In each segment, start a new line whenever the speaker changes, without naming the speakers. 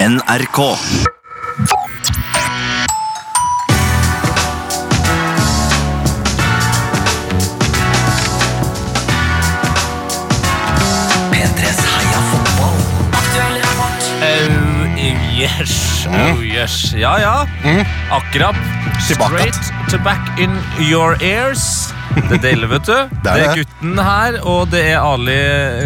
NRK. P3s heia fotball.
Oh yes,
Mm.
oh yes. Ja, ja. Akkurat.
Tilbake.
Straight to back in your ears. Det deler, vet du. Det
er
er
det.
gutten her, og det er Ali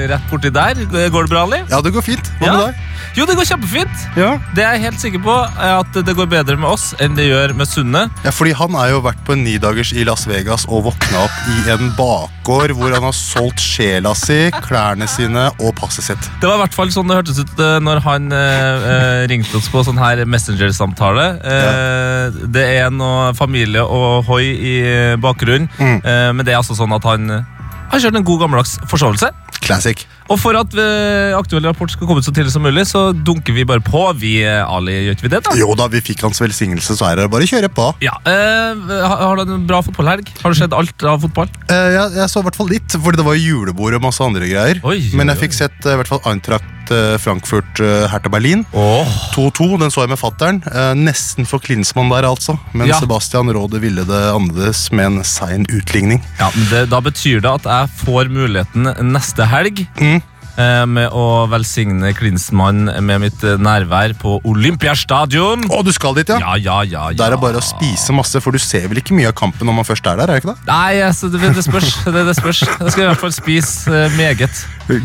rett borti der. Går det bra, Ali?
Ja, det går fint. Hva
Ja.
med deg?
Jo, det går kjempefint.
Ja.
Det jeg er helt sikker på, er at det går bedre med oss enn det gjør med Sunne.
fordi han er jo vært på en nidagers i Las Vegas og våkna opp i en bakgård hvor han har solgt sjela si, klærne sine og passet sitt.
Det var i hvert fall sånn det hørtes ut eh, når han eh, eh, ringte oss på sånn her Messenger-samtale. Eh, Det er noe familie og hoi i eh, bakgrunnen,
Mm.
eh, men det er altså sånn at han eh, har kjørt en god gammeldags forsovelse.
Classic.
Og for at eh, aktuell rapport skal komme ut så tidlig som mulig, så dunker vi bare på. Vi, eh, Ali, gjør ikke vi det, da?
Jo da, vi fikk hans velsignelse, så er det bare å kjøre på.
Ja, eh, ha- Har du en bra fotballhelg? Har du sett alt av fotball?
Eh, jeg, jeg så i hvert fall litt, fordi det var julebord og masse andre greier.
Oi, oi,
Men
oi.
jeg fikk sett eh, i hvert fall Eintracht eh, Frankfurt eh, Hertha Berlin.
Åh
2-2, den så jeg med fattern. Eh, nesten for Klinsmann der, altså. Men
Ja.
Sebastian Råde ville det annerledes med en sein utligning.
Ja, men det, Da betyr det at jeg får muligheten neste helg
Mm.
eh, med å velsigne Klinsmann med mitt eh, nærvær på Olympiastadion.
Å, du skal dit, ja?
Ja, ja, ja, ja.
Der er bare å spise masse, for du ser vel ikke mye av kampen når man først er der? er det ikke det?
Nei, altså, det, det spørs. Det, det spørs. Jeg skal i hvert fall spise eh, meget.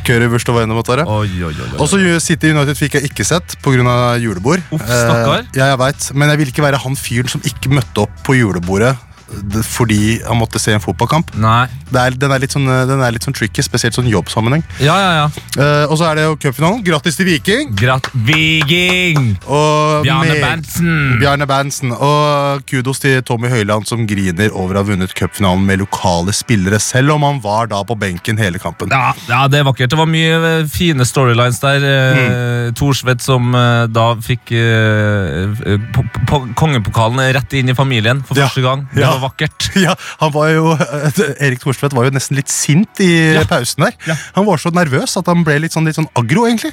Currywurst og vainematere.
Oi, oi, oi, oi.
Også City United fikk jeg ikke sett pga. julebord.
Uff, stakkar.
Eh, ja, jeg vet, Men jeg ville ikke være han fyren som ikke møtte opp på julebordet d- fordi han måtte se en fotballkamp.
Nei.
Det er, den, er litt sånn, eh, den er litt sånn tricky, spesielt sånn jobbsammenheng.
Ja, ja, ja.
Eh, og så er det jo cupfinalen. Grattis til Viking!
Gratt Viking!
Og
Bjarne
med-
Berntsen!
Bjarne Berntsen. Og kudos til Tommy Høiland, som griner over å ha vunnet cupfinalen med lokale spillere, selv om han var da på benken hele kampen.
Ja, ja, det er vakkert. Det var mye eh, fine storylines der. Mm. Thorsvedt som eh, da fikk eh, eh, po- po- kongepokalen rett inn i familien for
Ja.
første gang. Det
Ja.
var vakkert.
Ja, han var jo, eh, Erik Thorstvedt var jo nesten litt sint i pausen der. Han var så nervøs at han ble litt sånn, litt sånn aggro, egentlig.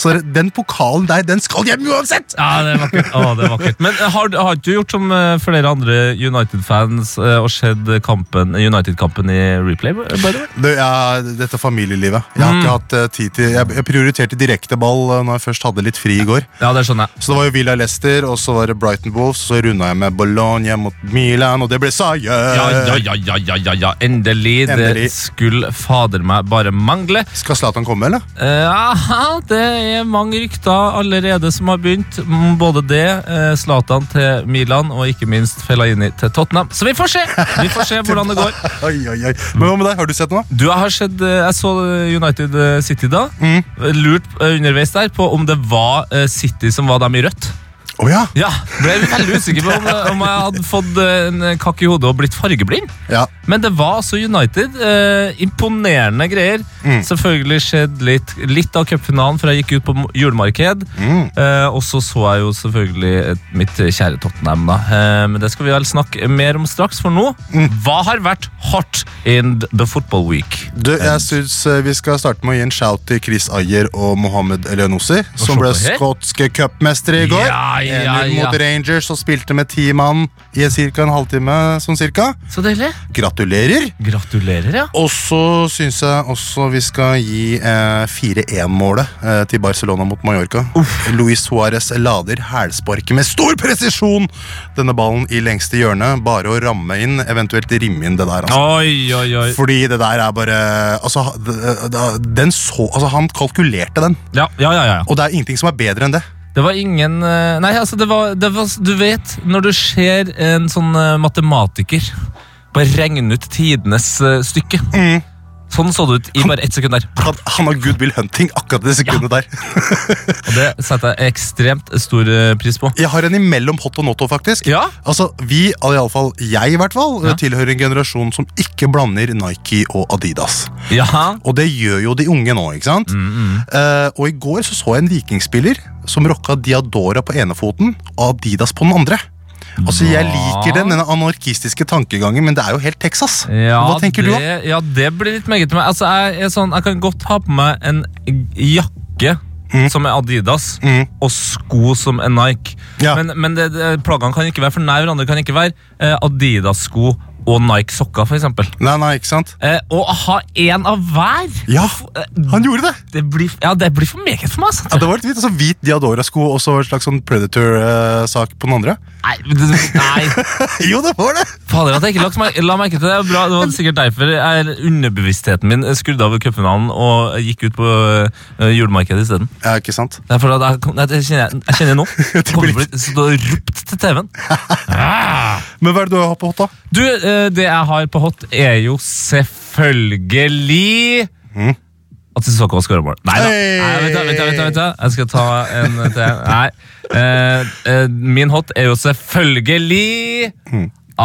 Så den pokalen der, den skal hjem uansett!
Ja, det er vakkert. Å, det er vakkert. Men eh, har, har ikke du gjort som eh, flere andre United-fans eh, og sett kampen- United-kampen i replay? by the way?
Du, ja, dette familielivet. Jeg har ikke hatt eh, tid til Jeg, jeg prioriterte direkteball eh, når jeg først hadde litt fri i går.
Ja, det skjønner jeg.
Så det var jo Villa Leicester, og så var det Brighton Wolves, så runda jeg med Bologna mot Milan, og det ble seier!
Ja, ja, ja, ja, ja, ja, ja. Endelig. Det
Endelig.
skulle fader meg bare mangle.
Skal Zlatan komme, eller?
Eh, aha, det er mange rykter allerede som har begynt. Mm, Både det, eh, Zlatan til Milan og ikke minst Fellaini til Tottenham. Så vi får se Vi får se hvordan det går.
Oi, oi, oi. Men hva med deg? Har du sett noe?
Du, Jeg har sett, eh, jeg så eh, United eh, City da. Lurt eh, underveis der på om det var eh, City som var dem i rødt.
Å ja.
Ja, Ble veldig usikker på om, om jeg hadde fått eh, en kakk i hodet og blitt fargeblind.
ja!
Men det var altså United. Eh, imponerende greier. Selvfølgelig skjedd litt, litt av cupfinalen før jeg gikk ut på m- julemarked. Eh, og så så jeg jo selvfølgelig et, mitt kjære Tottenham, da. Eh, men det skal vi vel snakke mer om straks, for nå Hva har vært hot in the football week?
Du, jeg synes eh, Vi skal starte med å gi en shout til Chris Ayer og Mohammed Elionossi, som ble
se på her.
skotske cupmestere i går.
Ja, ja,
1-0
ja.
mot Rangers og spilte med ti mann i ca. en halvtime. sånn cirka.
Så deilig.
Gratulerer!
Gratulerer, ja.
Og så syns jeg også vi skal gi eh, 4-1-målet eh, til Barcelona mot Mallorca. Luis Suárez lader hælsparket med stor presisjon! Denne ballen i lengste hjørne. Bare å ramme inn, eventuelt rimme inn det der. altså.
Oi, oi, oi.
Fordi det der er bare Altså, d- d- den så Altså, han kalkulerte den.
Ja, ja, ja. ja.
Og det er ingenting som er bedre enn det.
Det var ingen eh, Nei, altså, det var, det var Du vet, når du ser en sånn eh, matematiker bare regne ut tidenes eh, stykke Sånn så det ut i bare ett sekund der.
Han, han har Good Will Hunting akkurat det sekundet der.
Og det setter jeg ekstremt stor eh, pris på.
Jeg har en imellom hot og notto, faktisk.
Ja.
Altså, vi, iallfall jeg, i hvert fall,
Ja.
tilhører en generasjon som ikke blander Nike og Adidas.
Ja.
Og det gjør jo de unge nå, ikke sant? Eh, og i går så så jeg en vikingspiller som rocka Diadora på ene foten og Adidas på den andre. Altså, Jeg liker den, denne anarkistiske tankegangen, men det er jo helt Texas.
Ja,
Hva tenker
det,
du om?
Ja, det blir litt meget til meg. Altså, jeg, er sånn, jeg kan godt ha på meg en jakke som er Adidas,
Mm.
og sko som er Nike.
Ja.
Men, men det, det, plaggene kan ikke være for nær hverandre. kan ikke være eh, Adidas-sko og Nike-sokker, f.eks.
Nei, nei, ikke sant?
Eh, og ha én av hver!
Ja,
Eh,
han gjorde det!
Det blir, ja, det blir for meget for meg. sant?
Ja, det var litt hvit, altså Hvit Diadora-sko og så en slags sånn Predator-sak på den andre.
Nei, det- nei.
Jo, det var det!
Fader, at jeg ikke lagt mer- la merke til det. er Bra. Det var sikkert derfor jeg, underbevisstheten min skrudde av ved cupfinalen og gikk ut på eh, julemarkedet isteden.
Ja, ikke sant?
Det er fordi at jeg, kom- nei, det kjenner jeg, jeg kjenner nå. Kommer til å bli så ropt til TV-en.
Men hva er det du har på hot, da?
Du, eh, det jeg har på hot, er jo selvfølgelig At Sissoko skårer mål. Nei da.
Hey!
Nei, vent, da, vent, da, vent, da, vent, da. Jeg skal ta en til. Nei. Eh, eh, min hot er jo selvfølgelig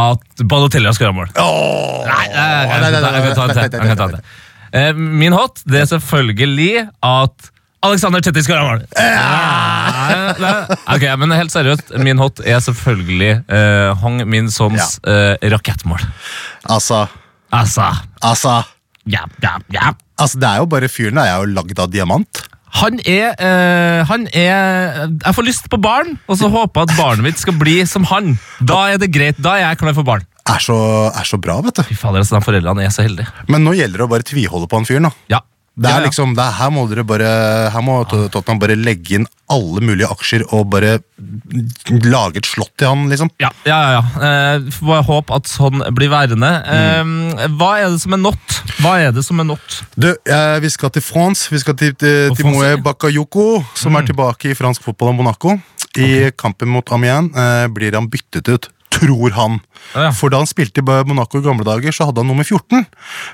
at Balotelli har skåra mål.
Åh,
Nei, nei, nei, jeg kan ta- jeg kan ta en til. Jeg kan ta en til. Eh, Min hot det er selvfølgelig at Alexander Tetti skåra mål. Nei, nei. Ok, Men helt seriøst, min hot er selvfølgelig eh, Hong Min Sons eh, rakettmål.
Altså,
Altså
altså
ja, ja, ja.
Altså, det er jo bare fyren der er jo lagd av diamant.
Han er, eh, han er Jeg får lyst på barn, og så håper jeg at barnet mitt skal bli som han. Da er det greit, da er jeg klar for barn.
Er så, er så bra, vet du.
Fy fader, altså, de foreldrene er så heldige.
Men nå gjelder det å bare tviholde på han fyren, da.
Ja.
Det
Ja,
er
ja.
liksom, det er, her må dere bare Her må Tot- Tottenham bare legge inn alle mulige aksjer og bare lage et slott til han, liksom.
Ja, ja, ja. ja. Eh, får bare håpe at sånn blir værende. Eh, hva er det som er not? Hva er det som er not?
Du, eh, vi skal til France. Vi skal til, eh, til
Og Mm.
Timoe
France, ja.
Bakayoko, som er tilbake i fransk fotball og Monaco. I kampen mot Amiens eh, blir han byttet ut. Tror han.
Ja, ja.
For da han spilte i Monaco i gamle dager, så hadde han nummer 14.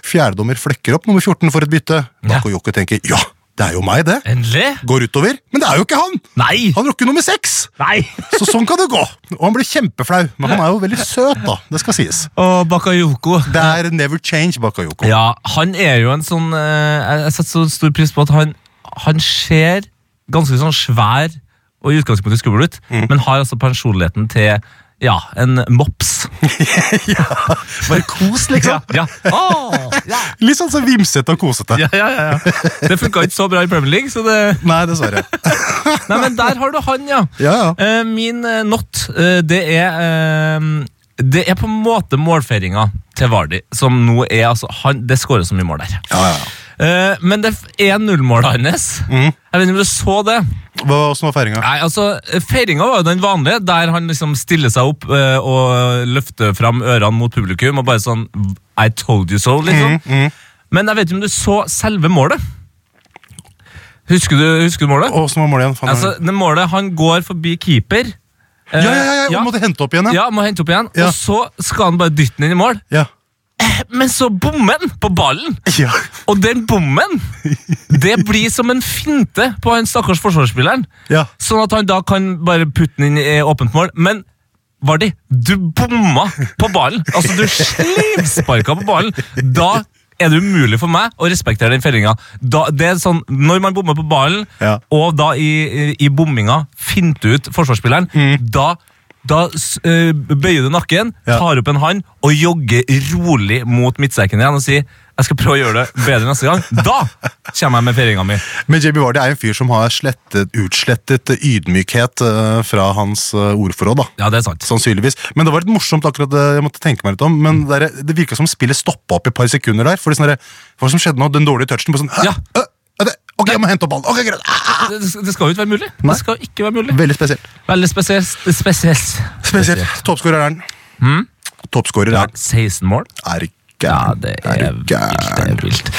Fjerdedommer flekker opp nummer 14 for et bytte. Bakayoko tenker ja, det er jo meg, det.
Endelig?
Går utover. Men det er jo ikke han!
Nei!
Han rukker nummer seks!
Nei!
Så sånn kan det gå. Og han blir kjempeflau, men han er jo veldig søt, da. Det skal sies.
Og Bakayoko.
Det er never change, Bakayoko.
Ja, han er jo en sånn eh, Jeg jeg setter så stor pris på at han, han ser ganske sånn svær og i utgangspunktet skummel ut, men har altså personligheten til ja, en mops.
Bare kos,
Ja,
liksom.
ja. Åh, ja.
Litt sånn så vimsete og kosete.
ja, ja, ja. Det funka ikke så bra i Premier League, så det
Nei, dessverre.
Nei, men der har du han, ja.
Ja, ja.
Eh, min eh, not, eh, det er eh, Det er på en måte målfeiringa til Vardi, som nå er altså han, Det skåres så mye mål der.
ja, ja.
Eh, men det er nullmålet hans.
Mm.
Jeg vet ikke om du så det?
Hva Åssen var feiringa?
Nei, altså, Feiringa var jo den vanlige, der han liksom stiller seg opp eh, og løfter fram ørene mot publikum og bare sånn I told you so, liksom.
Mm,
Men jeg vet ikke om du så selve målet? Husker du, husker du målet?
Åssen var målet igjen? Faen,
Altså, det målet, han går forbi keeper.
Mm.
Eh,
ja, ja, ja, ja. Måtte hente opp igjen, ja.
Ja, må hente opp igjen.
Ja.
Og så skal han bare dytte den inn i mål.
Ja.
Men så bommer han på ballen!
ja.
Og den bommen det blir som en finte på han stakkars forsvarsspilleren.
Ja.
Sånn at han da kan bare putte den inn i åpent mål. Men Vardi, du bomma på ballen! Altså, du slivsparka på ballen! Da er det umulig for meg å respektere den fellinga. Da, det er sånn, når man bommer på ballen,
Ja.
og da i, i bomminga finter ut forsvarsspilleren, da, da s- eh, bøyer du nakken,
Mm. Ja.
tar opp en hand og jogger rolig mot midtsekken igjen og sier jeg skal prøve å gjøre det bedre neste gang. Da kommer jeg med feiringa mi.
Men JB Vardy er en fyr som har slettet, utslettet ydmykhet eh, fra hans eh, ordforråd. da
Ja, det er sant.
Sannsynligvis. Men det var litt morsomt akkurat det jeg måtte tenke meg litt om.
Mm.
Men det, der- det virka som spillet stoppa opp i et par sekunder der. For det sånn der, hva som skjedde nå? Den dårlige touchen på sånn «Hæ?
Ja.
Hæ? Hæ? Det- Ok, jeg må hente opp ballen. Ok, greit. Ah!
Det, det skal jo ikke være mulig.
Nei.
Det skal ikke være mulig.
Veldig spesielt.
Veldig spesielt. spesielt.
Spesielt. Toppskårer er den. Toppskårer er,
16 mål.
er du
Ja,
gæren?
det
Er
er
du
vilt. Det er
gæren?
vilt.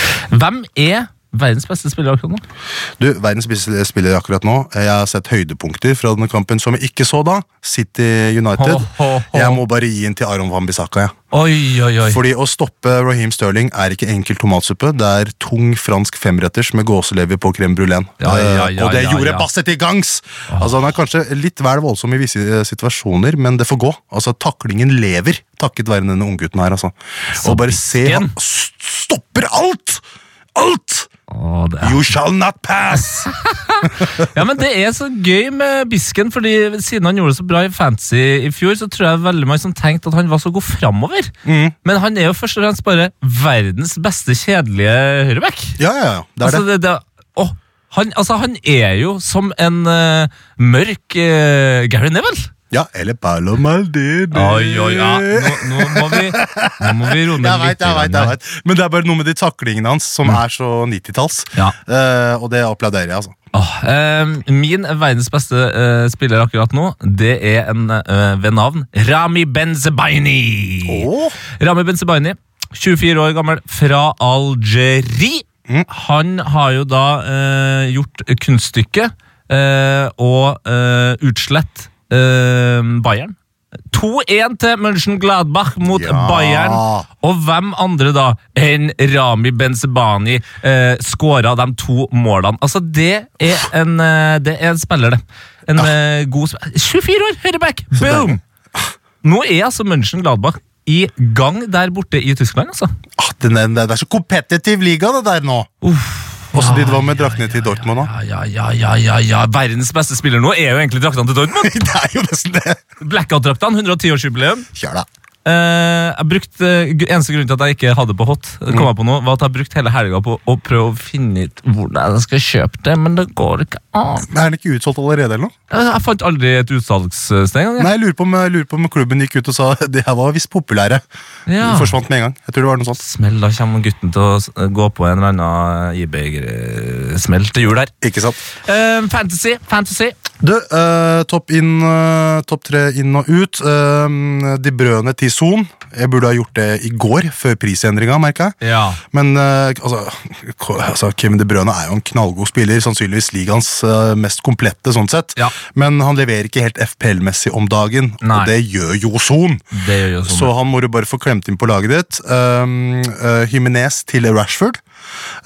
Hvem er verdens beste spiller akkurat nå?
Du, verdens beste spiller akkurat nå. Jeg har sett høydepunkter fra denne kampen som jeg ikke så da. City United.
Ho, ho, ho.
Jeg må bare gi den til Aron Van Bissaka, jeg. Ja.
Oi, oi, oi.
Fordi å stoppe Raheem Sterling er ikke enkel tomatsuppe. Det er tung fransk femretters med gåselever på crème brulén.
Ja, ja, ja,
og det
ja,
gjorde
ja. Ah.
Basset i gangs! Altså, han er kanskje litt vel voldsom i visse eh, situasjoner, men det får gå. Altså, Taklingen lever takket være denne unggutten her. altså. og bare se
pisken.
han s- stopper alt! Alt!
Å, det er
You shall not pass!
Ja, men Det er så gøy med Bisken, fordi siden han gjorde det så bra i Fantasy i fjor, så tror jeg veldig mange som tenkte at han var så god framover.
Mm.
Men han er jo først og fremst bare verdens beste kjedelige høyreback.
Ja, ja, ja. Det er
Altså,
det.
det, det, å, Han, altså, han er jo som en eh, mørk eh, Gary Neville.
Ja, eller Paolo Maldini.
Oi, oi, ja. Nå, nå, må, vi, nå må vi roe
Jeg
ned
vet, jeg
litt. grann
vet, jeg
her.
vet. Men det er bare noe med de taklingene hans som er så 90-talls.
Ja.
Eh, og det applauderer jeg, altså.
Åh, eh, min verdens beste eh, spiller akkurat nå, det er en eh, ved navn Rami Benzebaini.
Åh.
Rami Benzebaini, 24 år gammel, fra Algerie. Han har jo da eh, gjort kunststykket eh, og eh, utslett eh, Bayern. 2-1 til Mönchengladbach mot
Ja.
Bayern. Og hvem andre da enn Rami Benzebani eh, skåra de to målene? Altså, det er en, eh, det er en spiller, det. En eh, god sp 24 år, høyreback! Boom! Nå er altså Mönchengladbach i gang der borte i Tyskland, altså.
Ah, den, den, det er så kompetitiv liga, det der nå. Også de det var med draktene til Dortmund òg.
Ja, ja, ja, ja, ja, ja. Verdens beste spiller nå er jo egentlig draktene til Dortmund.
Det er jo nesten det.
Blackout-draktene, 110-årsjubileum.
Kjør, da.
Eh, jeg brukte, gu- Eneste grunn til at jeg ikke hadde på hot, kom jeg på nå, var at jeg brukte hele helga på å prøve å finne ut hvordan jeg skal kjøpe det, men det går ikke an.
Er den ikke utsolgt allerede? eller noe?
Jeg, jeg fant aldri et utsalgssted engang. jeg.
Nei, jeg lurer på, om, jeg lurer på om klubben gikk ut og sa det her var visst populære.
Ja.
De Forsvant med en gang. Jeg tror det var noe sånt.
Smell, da kommer gutten til å s- gå på en eller annen eBay-smell til jul her.
Ikke sant?
Eh, fantasy, fantasy.
Du, eh, topp inn, eh, topp tre inn og ut. Eh, de brødene til Son. Jeg burde ha gjort det i går, før prisendringa, merker jeg.
Ja.
Men eh, altså, K- altså, Kevin De Brøne er jo en knallgod spiller, sannsynligvis ligaens eh, mest komplette. sånn sett.
Ja.
Men han leverer ikke helt FPL-messig om dagen,
Nei.
og det gjør jo Son.
Det gjør jo sånn.
Så han må du bare få klemt inn på laget ditt. Um, eh, Jimenez til Rashford.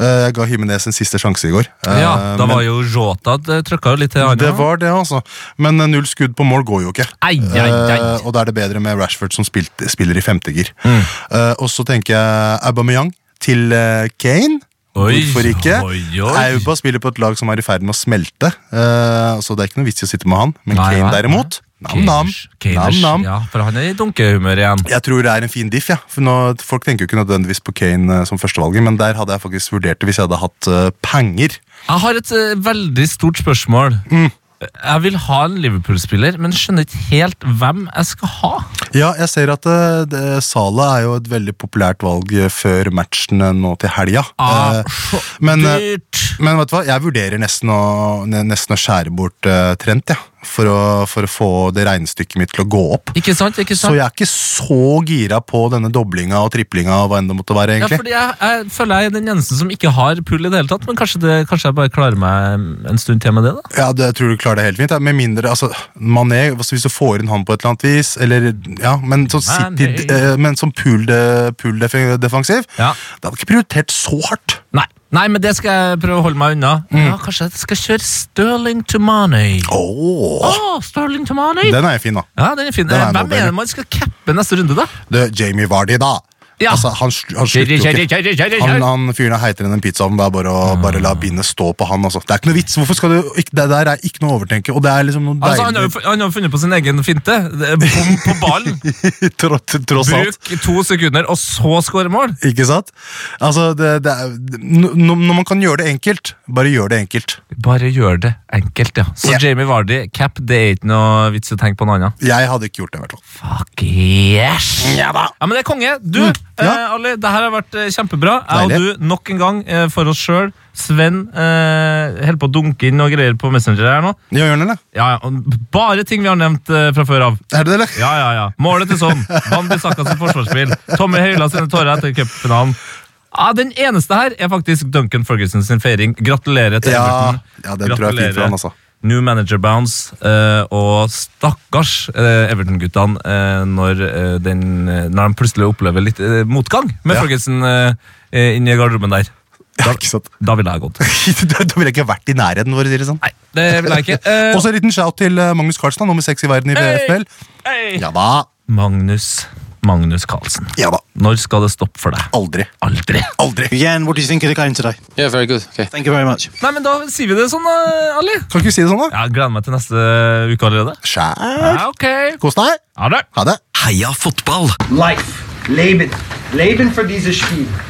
Eh, jeg ga Jimenez en siste sjanse i går. Eh,
ja, da
men-
var jo Jota det trøkka jo litt til
det
Arna.
var det, altså. Men eh, null skudd på mål går jo ikke.
Ei, ei, ei.
Eh, og da er det bedre med Rashford som spilt, spiller i femtegir.
Mm.
Eh, og så tenker jeg Aubameyang til eh, Kane.
Oi,
Hvorfor ikke?
oi, oi.
Auba spiller på et lag som er i ferd med å smelte, eh, så det er ikke noe vits i å sitte med han. Men
Nei,
Kane
nei,
derimot,
Kaners,
nam-nam.
Kaners, Ja, for han er i dunkehumør igjen.
Jeg tror det er en fin diff. Ja. For nå, folk tenker jo ikke nødvendigvis på Kane eh, som førstevalget, men der hadde jeg faktisk vurdert det hvis jeg hadde hatt eh, penger.
Jeg har et eh, veldig stort spørsmål.
Mm.
Jeg vil ha en Liverpool-spiller, men skjønner ikke helt hvem jeg skal ha.
Ja, jeg ser at eh, det- Salah er jo et veldig populært valg eh, før matchen eh, nå til helga.
Ah,
Eh,
så
men, eh,
dyrt!
men vet du hva, jeg vurderer nesten å, ne- nesten å skjære bort eh, Trent, ja, for, å, for å få det regnestykket mitt til å gå opp.
Ikke sant? ikke
Så
sant?
jeg er ikke så gira på denne doblinga og triplinga og hva enn det måtte være.
Ja,
egentlig.
fordi jeg, jeg føler jeg er den eneste som ikke har pull i det hele tatt, men kanskje, det, kanskje jeg bare klarer meg en stund til med det, da?
Ja, det, jeg tror du klarer det helt fint. Ja. Med mindre, altså, Mané, altså, Hvis du får inn han på et eller annet vis eller, ja, Men som,
Mané.
City, eh, men som pool, de, pool defe- defensiv
Ja.
Det hadde ikke prioritert så hardt.
Nei, Nei men det skal jeg prøve å holde meg unna. Ja, Kanskje jeg skal kjøre Sterling to Money.
Mm. Åh,
Åh, Sterling to Money!
Den er jo fin, da.
Ja, den er fin.
Den er
Eh,
noe
Hvem
bedre.
er det man skal cappe neste runde, da?
Du, Jamie Vardy, da.
Ja.
Altså, han, sl- han slutter jo ikke. Han, han fyren er heitere enn en pizzaovn. Det er bare å bare la bindet stå på han. Altså. Det er ikke noe vits. Hvorfor skal du ikke, Det der er ikke noe å overtenke. Og det er liksom noe
Altså, han, har jo,
deilig
fu- han har jo funnet på sin egen finte. Det er Bom på ballen.
tro- tro- tross alt.
Bruk to sekunder, og så skåre mål.
Ikke sant? Altså, det, det er, n- n- når man kan gjøre det enkelt, bare gjør det enkelt.
Bare gjør det enkelt, ja. Så
Ja.
Jamie Vardy, cap, det er ikke noe vits å tenke på noe annet.
Jeg hadde ikke gjort det, i hvert fall.
Fuck yes!
Ja da.
Ja, men det er konge. Du, eh,
Mm, ja.
Ali, det her har vært eh, kjempebra. Jeg
Deilig.
og du, nok en gang, eh, for oss sjøl. Sven eh, holder på å dunke inn og greier på Messenger her nå.
Ja, gjør den, eller?
Ja, ja, og Bare ting vi har nevnt eh, fra før av.
Er det det, eller?
Ja, ja, ja. Målet til sånn. Van Bissaka som forsvarsspill. Tommy Høyla sine tårer etter cupfinalen. Ja, den eneste her er faktisk Duncan Ferguson sin feiring. Gratulerer til
Ja,
Everton.
ja, den tror jeg er fint for han, altså.
New manager bounce, eh, og stakkars eh, Everton-guttene eh, når, eh, den- når de plutselig opplever litt eh, motgang med
Ja.
Ferguson eh, eh, inni garderoben der.
Ja, ikke sant?
Da ville jeg gått.
da da ville jeg ikke vært i nærheten vår, sier det sånn.
Nei, det vil jeg ikke. Eh,
Også en liten shout til eh, Magnus Carlsen, da, nummer seks i verden i
Hey!
BFL.
hei!
Ja da.
Magnus, Magnus Carlsen.
Ja da.
Når skal det stoppe for deg?
Aldri.
Aldri.
Aldri.
Jan, what do you think of the game today?
Yeah, very good. Okay.
Thank you very much.
Nei, men da sier vi det sånn, da, Ali.
Kan ikke vi si det sånn, da?
Jeg gleder meg til neste uke allerede.
Skjær.
Ja, ok.
Kos deg.
Ha det.
Ha det.
Heia fotball!
Life. Leben. Leben für dieses Spiel.